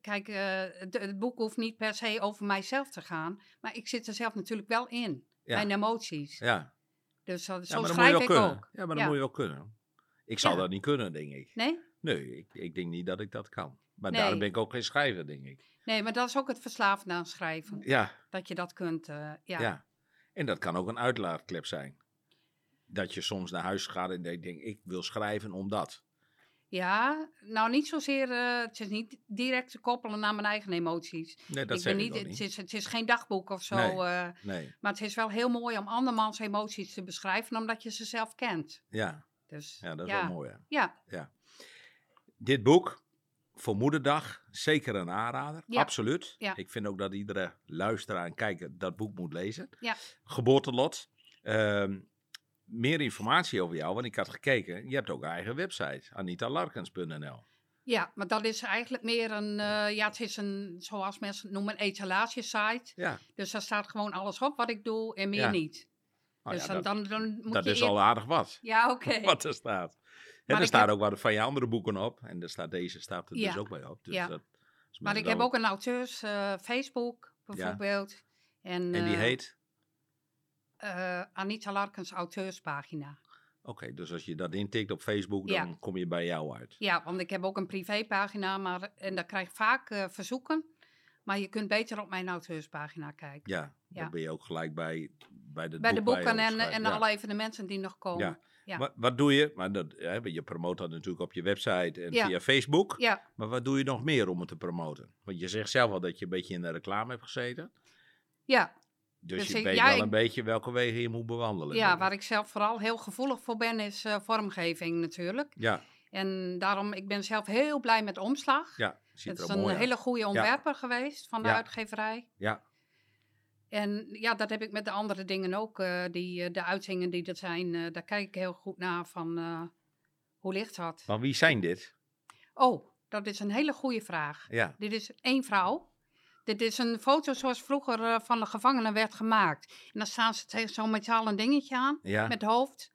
Kijk, eh, het, het boek hoeft niet per se over mijzelf te gaan, maar ik zit er zelf natuurlijk wel in,
Ja.
mijn emoties.
Ja,
Dus dat,
ja maar dan
zo
moet je
schrijf
wel
ik
kunnen.
ook.
Ja, maar dan
Ja.
moet je wel kunnen. Ik zou
Ja.
dat niet kunnen, denk ik.
Nee?
Nee, ik, ik denk niet dat ik dat kan. Maar
Nee.
daarom ben ik ook geen schrijver, denk ik.
nee, maar dat is ook het verslaafd aan schrijven,
Ja,
dat je dat kunt. eh, ja.
Ja. En dat kan ook een uitlaatklep zijn. Dat je soms naar huis gaat en dat je denkt, ik wil schrijven omdat.
Ja, nou niet zozeer, eh, het is niet direct te koppelen aan mijn eigen emoties.
Nee, dat
ik
zeg
ben
ik
niet,
ook
Het,
niet.
is, het is geen dagboek of zo.
Nee.
eh,
Nee,
Maar het is wel heel mooi om andermans emoties te beschrijven, omdat je ze zelf kent.
ja,
Dus,
ja dat is wel mooi. Hè.
Ja,
Dit boek, voor Moederdag, zeker een aanrader.
Ja.
Absoluut.
Ja.
Ik vind ook dat iedere luisteraar en kijker dat boek moet lezen.
Ja.
Geboortelot. Ehm, meer informatie over jou, want ik had gekeken. Je hebt ook een eigen website, anitalarkens.nl.
ja, maar dat is eigenlijk meer een, eh, ja, het is een, zoals mensen het noemen, een etalagesite.
Ja, Oh
Dus daar staat gewoon alles op wat ik doe en meer
Ja.
niet.
nou
dus
ja,
dan,
dat,
dan, dan moet
dat
je
is
eer-
al aardig wat.
Ja, oké.
wat er staat. En
Maar
er
ik
staan
heb-
ook wat van je andere boeken op. En er staat deze staat er
Ja.
dus ook bij op. Dus
Ja.
dat is
Maar ik heb
wel-
ook een auteurs eh, Facebook, bijvoorbeeld. En,
En die
eh,
heet?
eh, Anita Larkens auteurspagina.
Oké, dus als je dat intikt op Facebook,
Ja.
dan kom je bij jou uit.
Ja, want ik heb ook een privépagina, maar, en daar krijg ik vaak eh, verzoeken. Maar je kunt beter op mijn auteurspagina kijken.
Ja,
Ja.
dan ben je ook gelijk bij, bij, de,
Bij de boeken en,
opschrijven.
en
Ja.
alle evenementen die nog komen.
Ja.
ja.
Wat, wat doe je? Maar dat, hè, je promoot dat natuurlijk op je website en
Ja.
via Facebook.
ja.
Maar wat doe je nog meer om het te promoten? Want je zegt zelf al dat je een beetje in de reclame hebt gezeten.
ja.
Dus,
Dus
je
ik-
weet
ja,
wel
ik-
een beetje welke wegen je moet bewandelen.
Ja, waar ik zelf vooral heel gevoelig voor ben, is eh, vormgeving natuurlijk.
ja,
En daarom, ik ben zelf heel blij met de omslag.
ja, ziet
Het
er
is
al
een
mooi uit.
hele goede ontwerper geweest van de
Ja.
uitgeverij.
Ja.
En ja, dat heb ik met de andere dingen ook. eh, die, eh, de uitzingen die dat zijn, eh, daar kijk ik heel goed naar van eh, hoe ligt dat?
Van wie zijn dit?
Oh, dat is een hele goede vraag.
Ja.
Dit is één vrouw. Dit is een foto zoals vroeger eh, van de gevangenen werd gemaakt. En dan staan ze tegen zo'n metalen dingetje aan,
Ja.
met hoofd.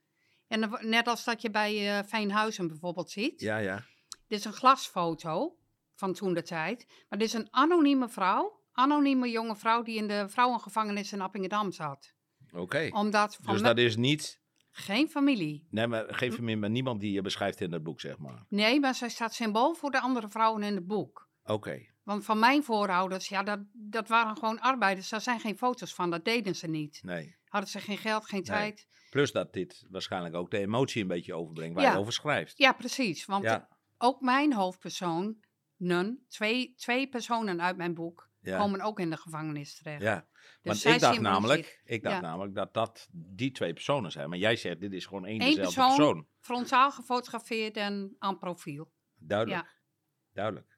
En dan wo- net als dat je bij eh Fijnhuizen bijvoorbeeld ziet.
Ja, ja.
Dit is een glasfoto van toen de tijd. Maar dit is een anonieme vrouw. Anonieme jonge vrouw die in de vrouwengevangenis in Appingedam zat.
Oké.
Omdat Oh, van
Dus
me- Hm?
dat is niet.
geen familie.
Nee, maar geef hem in, maar niemand die je beschrijft in dat boek, zeg maar.
Nee, maar zij staat symbool voor de andere vrouwen in het boek.
Oké.
Want van mijn voorouders, ja, dat, dat waren gewoon arbeiders. Daar zijn geen foto's van, dat deden ze niet.
Nee.
Hadden ze geen geld, geen
Nee.
tijd.
Plus dat dit waarschijnlijk ook de emotie een beetje overbrengt waar
Ja.
je over schrijft.
Ja, precies. Want
Ja.
ook mijn hoofdpersoon, Nun, twee, twee personen uit mijn boek,
Ja.
komen ook in de gevangenis terecht.
ja. Want
Dus zij
ik dacht
symboliseert-
namelijk, ik dacht
Ja.
namelijk dat dat die twee personen zijn. Maar jij zegt, dit is gewoon één
Eén
dezelfde
persoon.
persoon.
Frontaal gefotografeerd en aan profiel.
Duidelijk.
Ja.
Duidelijk.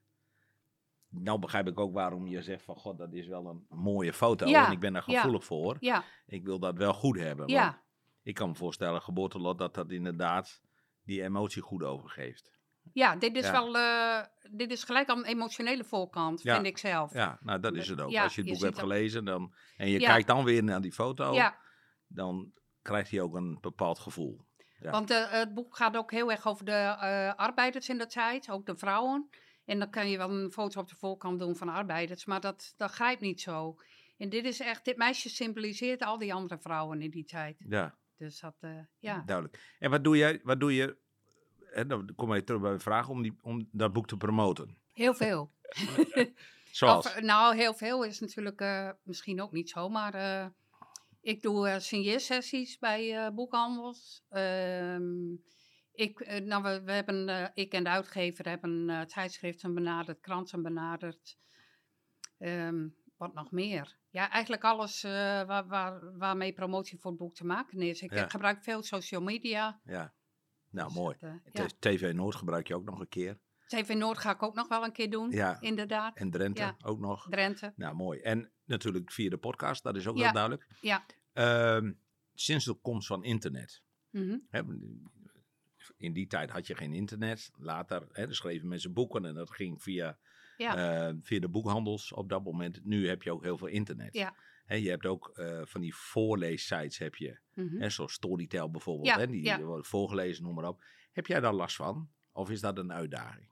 Nou begrijp ik ook waarom je zegt van, god, dat is wel een mooie foto.
Ja,
En ik ben daar
ja.
gevoelig voor.
Ja,
Ik wil dat wel goed hebben.
ja.
want Ik kan me voorstellen, geboortelot, dat dat inderdaad die emotie goed overgeeft.
ja dit is
Ja.
wel, eh, dit is gelijk aan de emotionele voorkant,
Ja.
vind ik zelf.
Ja, nou dat is het ook.
Ja,
Als je het
je
boek
ziet
hebt
dat-
gelezen dan, en je
Ja.
kijkt dan weer naar die foto,
ja.
dan krijgt hij ook een bepaald gevoel. Ja.
Want eh, het boek gaat ook heel erg over de eh, arbeiders in de tijd, ook de vrouwen. En dan kan je wel een foto op de voorkant doen van arbeiders, maar dat, dat grijpt niet zo. En dit is echt, dit meisje symboliseert al die andere vrouwen in die tijd.
Ja,
Dus dat, eh, ja.
duidelijk. En wat doe jij, wat doe je, en dan kom je terug bij mijn vraag, om, die, om dat boek te promoten?
Heel veel.
Zoals?
Of, eh, nou, heel veel is natuurlijk eh, misschien ook niet zo, maar eh, ik doe eh signeersessies bij eh, boekhandels. Ehm, ik, eh, nou, we, we hebben, eh, ik en de uitgever hebben eh, tijdschriften benaderd, kranten benaderd. Ehm, wat nog meer? Ja, eigenlijk alles eh, waar, waar, waarmee promotie voor het boek te maken is. Ik eh,
Ja.
gebruik veel social media.
ja. Nou,
Dus
mooi.
dat, eh,
Het is TV Noord gebruik je ook nog een keer.
ja. TV Noord ga ik ook nog wel een keer doen,
Ja,
inderdaad.
en Drenthe
Mhm. Ja.
ook nog.
Drenthe.
Nou, mooi. En natuurlijk via de podcast, dat is ook
Ja.
heel duidelijk.
Ja.
Ehm, sinds de komst van internet.
Mhm.
Hè, in die tijd had je geen internet. Later hè, dan schreven mensen boeken en dat ging via,
Ja.
eh, via de boekhandels op dat moment. Nu heb je ook heel veel internet.
Ja.
Hè, je hebt ook eh, van die voorleessites heb je.
mhm.
Hè, zoals Storytel bijvoorbeeld.
Ja,
hè, die
ja.
worden voorgelezen, noem maar op. Heb jij daar last van? Of is dat een uitdaging?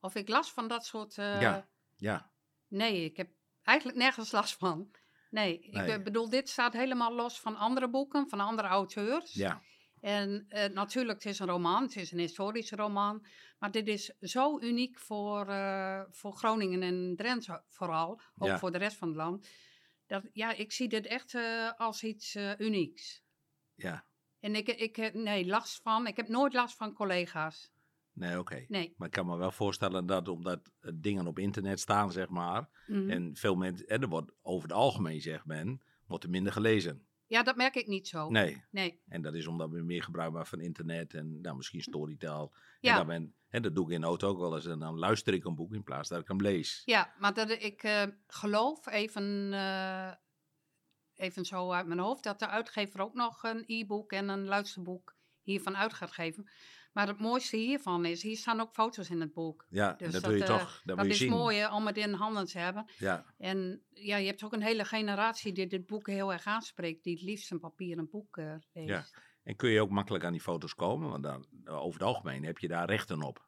Of ik last van dat soort. eh,
Ja. Ja,
Nee, ik heb eigenlijk nergens last van. Nee, ik
Nee.
eh, bedoel, dit staat helemaal los van andere boeken, van andere auteurs.
ja,
En eh, natuurlijk, het is een roman, het is een historische roman. Maar dit is zo uniek voor, eh, voor Groningen en Drenthe vooral. Ook
Ja.
voor de rest van het land. Dat, ja, ik zie dit echt eh, als iets eh, unieks.
ja.
En ik, ik heb nee, last van. Ik heb nooit last van collega's.
Nee, oké.
Nee.
Maar ik kan me wel voorstellen dat omdat eh, dingen op internet staan, zeg maar.
Mhm.
En veel mensen, en er wordt over het algemeen, zegt men, wordt er minder gelezen.
Ja, dat merk ik niet zo.
Nee,
nee.
en dat is omdat we meer gebruik maken van internet en nou, misschien Storytel.
Hm. Ja.
En, dat ben, en dat doe ik in de auto ook wel eens. En dan luister ik een boek in plaats dat ik hem lees.
Ja, maar dat ik eh, geloof even, eh, even zo uit mijn hoofd dat de uitgever ook nog een e-book en een luisterboek hiervan uit gaat geven. Maar het mooiste hiervan is, hier staan ook foto's in het boek.
Ja,
Dus
dat,
dat,
wil je
eh,
toch, dat,
Dat
wil je
is
zien.
mooi eh, om het in handen te hebben.
Ja,
En ja, je hebt ook een hele generatie die dit boek heel erg aanspreekt, die het liefst een papieren boek eh, leest.
Ja. en kun je ook makkelijk aan die foto's komen? Want dan, over het algemeen heb je daar rechten op.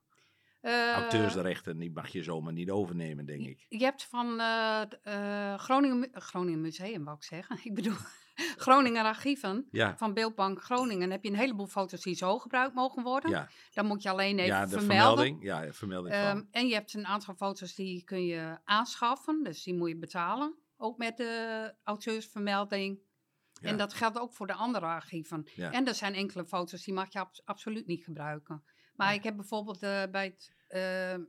Eh,
Auteursrechten, die mag je zomaar niet overnemen, denk ik.
Je hebt van eh, d- eh, Groningen, Mu- Groningen Museum, wou ik zeggen. Ik bedoel, Groningen Archieven.
Ja,
van Beeldbank Groningen heb je een heleboel foto's die zo gebruikt mogen worden.
ja.
Dan moet je alleen even
ja de
vermelden.
vermelding. Ja, de vermelding van.
Ehm, en je hebt een aantal foto's die kun je aanschaffen, dus die moet je betalen. Ook met de auteursvermelding.
Ja.
En dat geldt ook voor de andere archieven.
Ja.
En er zijn enkele foto's die mag je ab- absoluut niet gebruiken. Maar
Nee.
ik heb bijvoorbeeld eh, bij, het, eh, eh,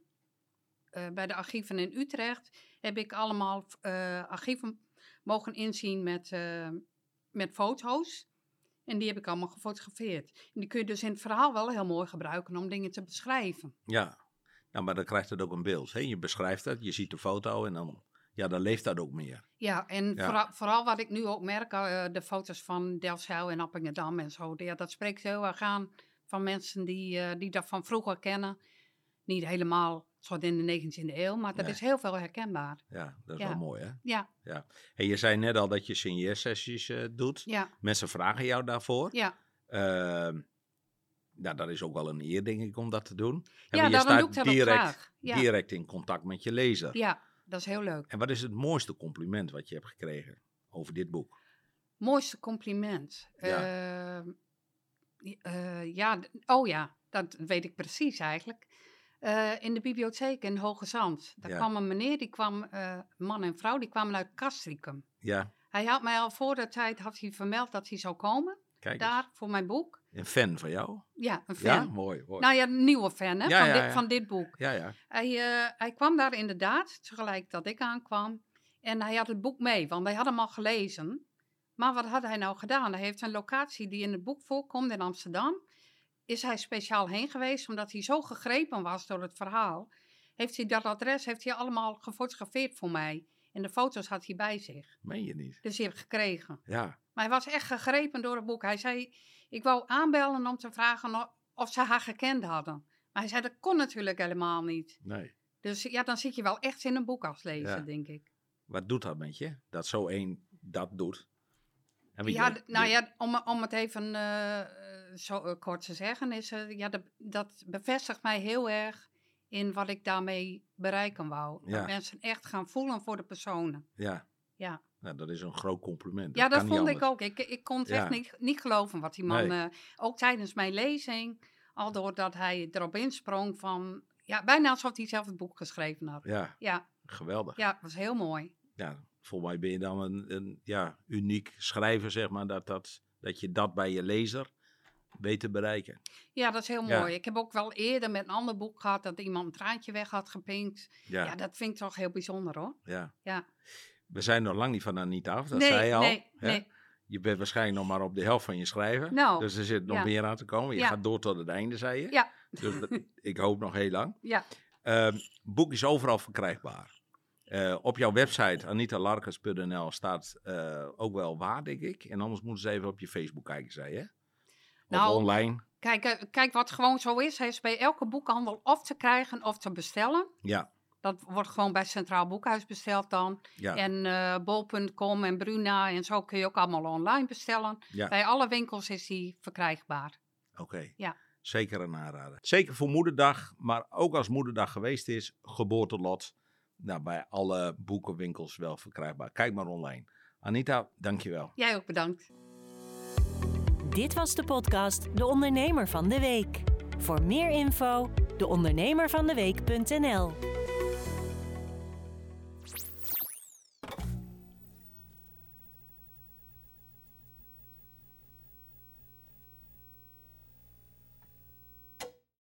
bij de archieven in Utrecht heb ik allemaal eh, archieven mogen inzien met, eh, met foto's. En die heb ik allemaal gefotografeerd. En die kun je dus in het verhaal wel heel mooi gebruiken om dingen te beschrijven.
Ja, nou, maar dan krijgt het ook een beeld. Hè? Je beschrijft het, je ziet de foto en dan, ja, ja, dan leeft dat ook meer.
Ja, en
Ja.
Vooral, vooral wat ik nu ook merk, eh, de foto's van Delfzijl en Appingedam en zo. Ja, dat spreekt heel erg aan van mensen die, eh, die dat van vroeger kennen. Niet helemaal tot in de 19e eeuw, maar dat
Nee.
is heel veel herkenbaar.
Ja, dat is
Ja.
wel mooi, hè?
Ja,
Hey, je zei net al dat je signeersessies eh, doet.
ja,
Mensen vragen jou daarvoor.
ja.
Ehm, nou, dat is ook wel een eer, denk ik, om dat te doen. En
ja,
je
daarom
staat
doe ik dat ook
direct,
graag. Ja.
direct in contact met je lezer.
ja, dat is heel leuk.
En wat is het mooiste compliment wat je hebt gekregen over dit boek?
Mooiste compliment. Ehm, j- eh, ja, d- oh ja, dat weet ik precies eigenlijk. Eh, in de bibliotheek in Hoge Zand. Daar
Ja.
kwam een meneer, die kwam, eh, man en vrouw, die kwamen uit Castricum.
Ja,
Hij had mij al voor de tijd had hij vermeld dat hij zou komen.
kijk eens.
Daar, voor mijn boek.
Een fan van jou?
Ja, een fan.
Ja, mooi. mooi.
Nou ja, een nieuwe fan hè,
Ja,
van,
ja,
dit,
ja.
van dit boek.
ja, ja.
Hij, eh, hij kwam daar inderdaad, tegelijk dat ik aankwam. En hij had het boek mee, want hij had hem al gelezen. Maar wat had hij nou gedaan? Hij heeft een locatie die in het boek voorkomt in Amsterdam. Is hij speciaal heen geweest, omdat hij zo gegrepen was door het verhaal. Heeft hij dat adres heeft hij allemaal gefotografeerd voor mij. En de foto's had hij bij zich.
meen je niet.
Dus die heb ik gekregen.
Ja,
Maar hij was echt gegrepen door het boek. Hij zei, ik wou aanbellen om te vragen o- of ze haar gekend hadden. Maar hij zei, dat kon natuurlijk helemaal niet.
nee.
Dus ja, dan zit je wel echt in een boek als lezer,
Ja.
denk ik.
Wat doet dat met je? Dat zo één dat doet. En wie
Ja,
je-
d- nou
je-
ja, om, om het even eh, eh, zo eh, kort te zeggen, is, eh, ja, dat, dat bevestigt mij heel erg in wat ik daarmee bereiken wou.
Ja.
Dat mensen echt gaan voelen voor de personen.
Ja.
Ja.
Nou, dat is een groot compliment.
ja, dat
kan niet
vond ik
anders.
ook. Ik, ik kon het
Ja.
echt niet, niet geloven wat die man,
Nee.
eh, ook tijdens mijn lezing, al doordat hij erop insprong van, ja, bijna alsof hij zelf het boek geschreven had.
Ja,
Ja,
geweldig.
ja, was heel mooi.
ja, volgens mij ben je dan een, een ja, uniek schrijver, zeg maar, dat, dat, dat je dat bij je lezer weet te bereiken.
Ja, dat is heel
Ja.
mooi. Ik heb ook wel eerder met een ander boek gehad dat iemand een traantje weg had gepinkt.
Ja,
Ja,
ja.
dat vind ik toch heel bijzonder hoor. ja.
We zijn nog lang niet van Anita af, dat
nee,
zei je al.
nee,
hè?
nee.
Je bent waarschijnlijk nog maar op de helft van je schrijven.
Nou,
dus er zit nog
ja.
meer aan te komen. Je
Ja.
gaat door tot het einde, zei je.
Ja.
Dus dat- ik hoop nog heel lang.
Ja,
Ehm, boek is overal verkrijgbaar. Eh, op jouw website anitalarkens.nl staat eh, ook wel waar, denk ik. En anders moeten ze even op je Facebook kijken, zei je. Of
Nou,
online.
kijk, eh, kijk wat gewoon zo is. Hij is bij elke boekhandel of te krijgen of te bestellen.
Ja,
Dat wordt gewoon bij Centraal Boekhuis besteld dan.
ja,
En eh, bol.com en Bruna en zo kun je ook allemaal online bestellen.
ja.
Bij alle winkels is die verkrijgbaar.
Oké.
Ja.
Zeker een aanrader. Zeker voor Moederdag, maar ook als Moederdag geweest is, geboortelot. Nou, bij alle boekenwinkels wel verkrijgbaar. Kijk maar online. Anita, dankjewel.
Jij ook bedankt.
Dit was de podcast De Ondernemer van de Week. Voor meer info, deondernemervandeweek.nl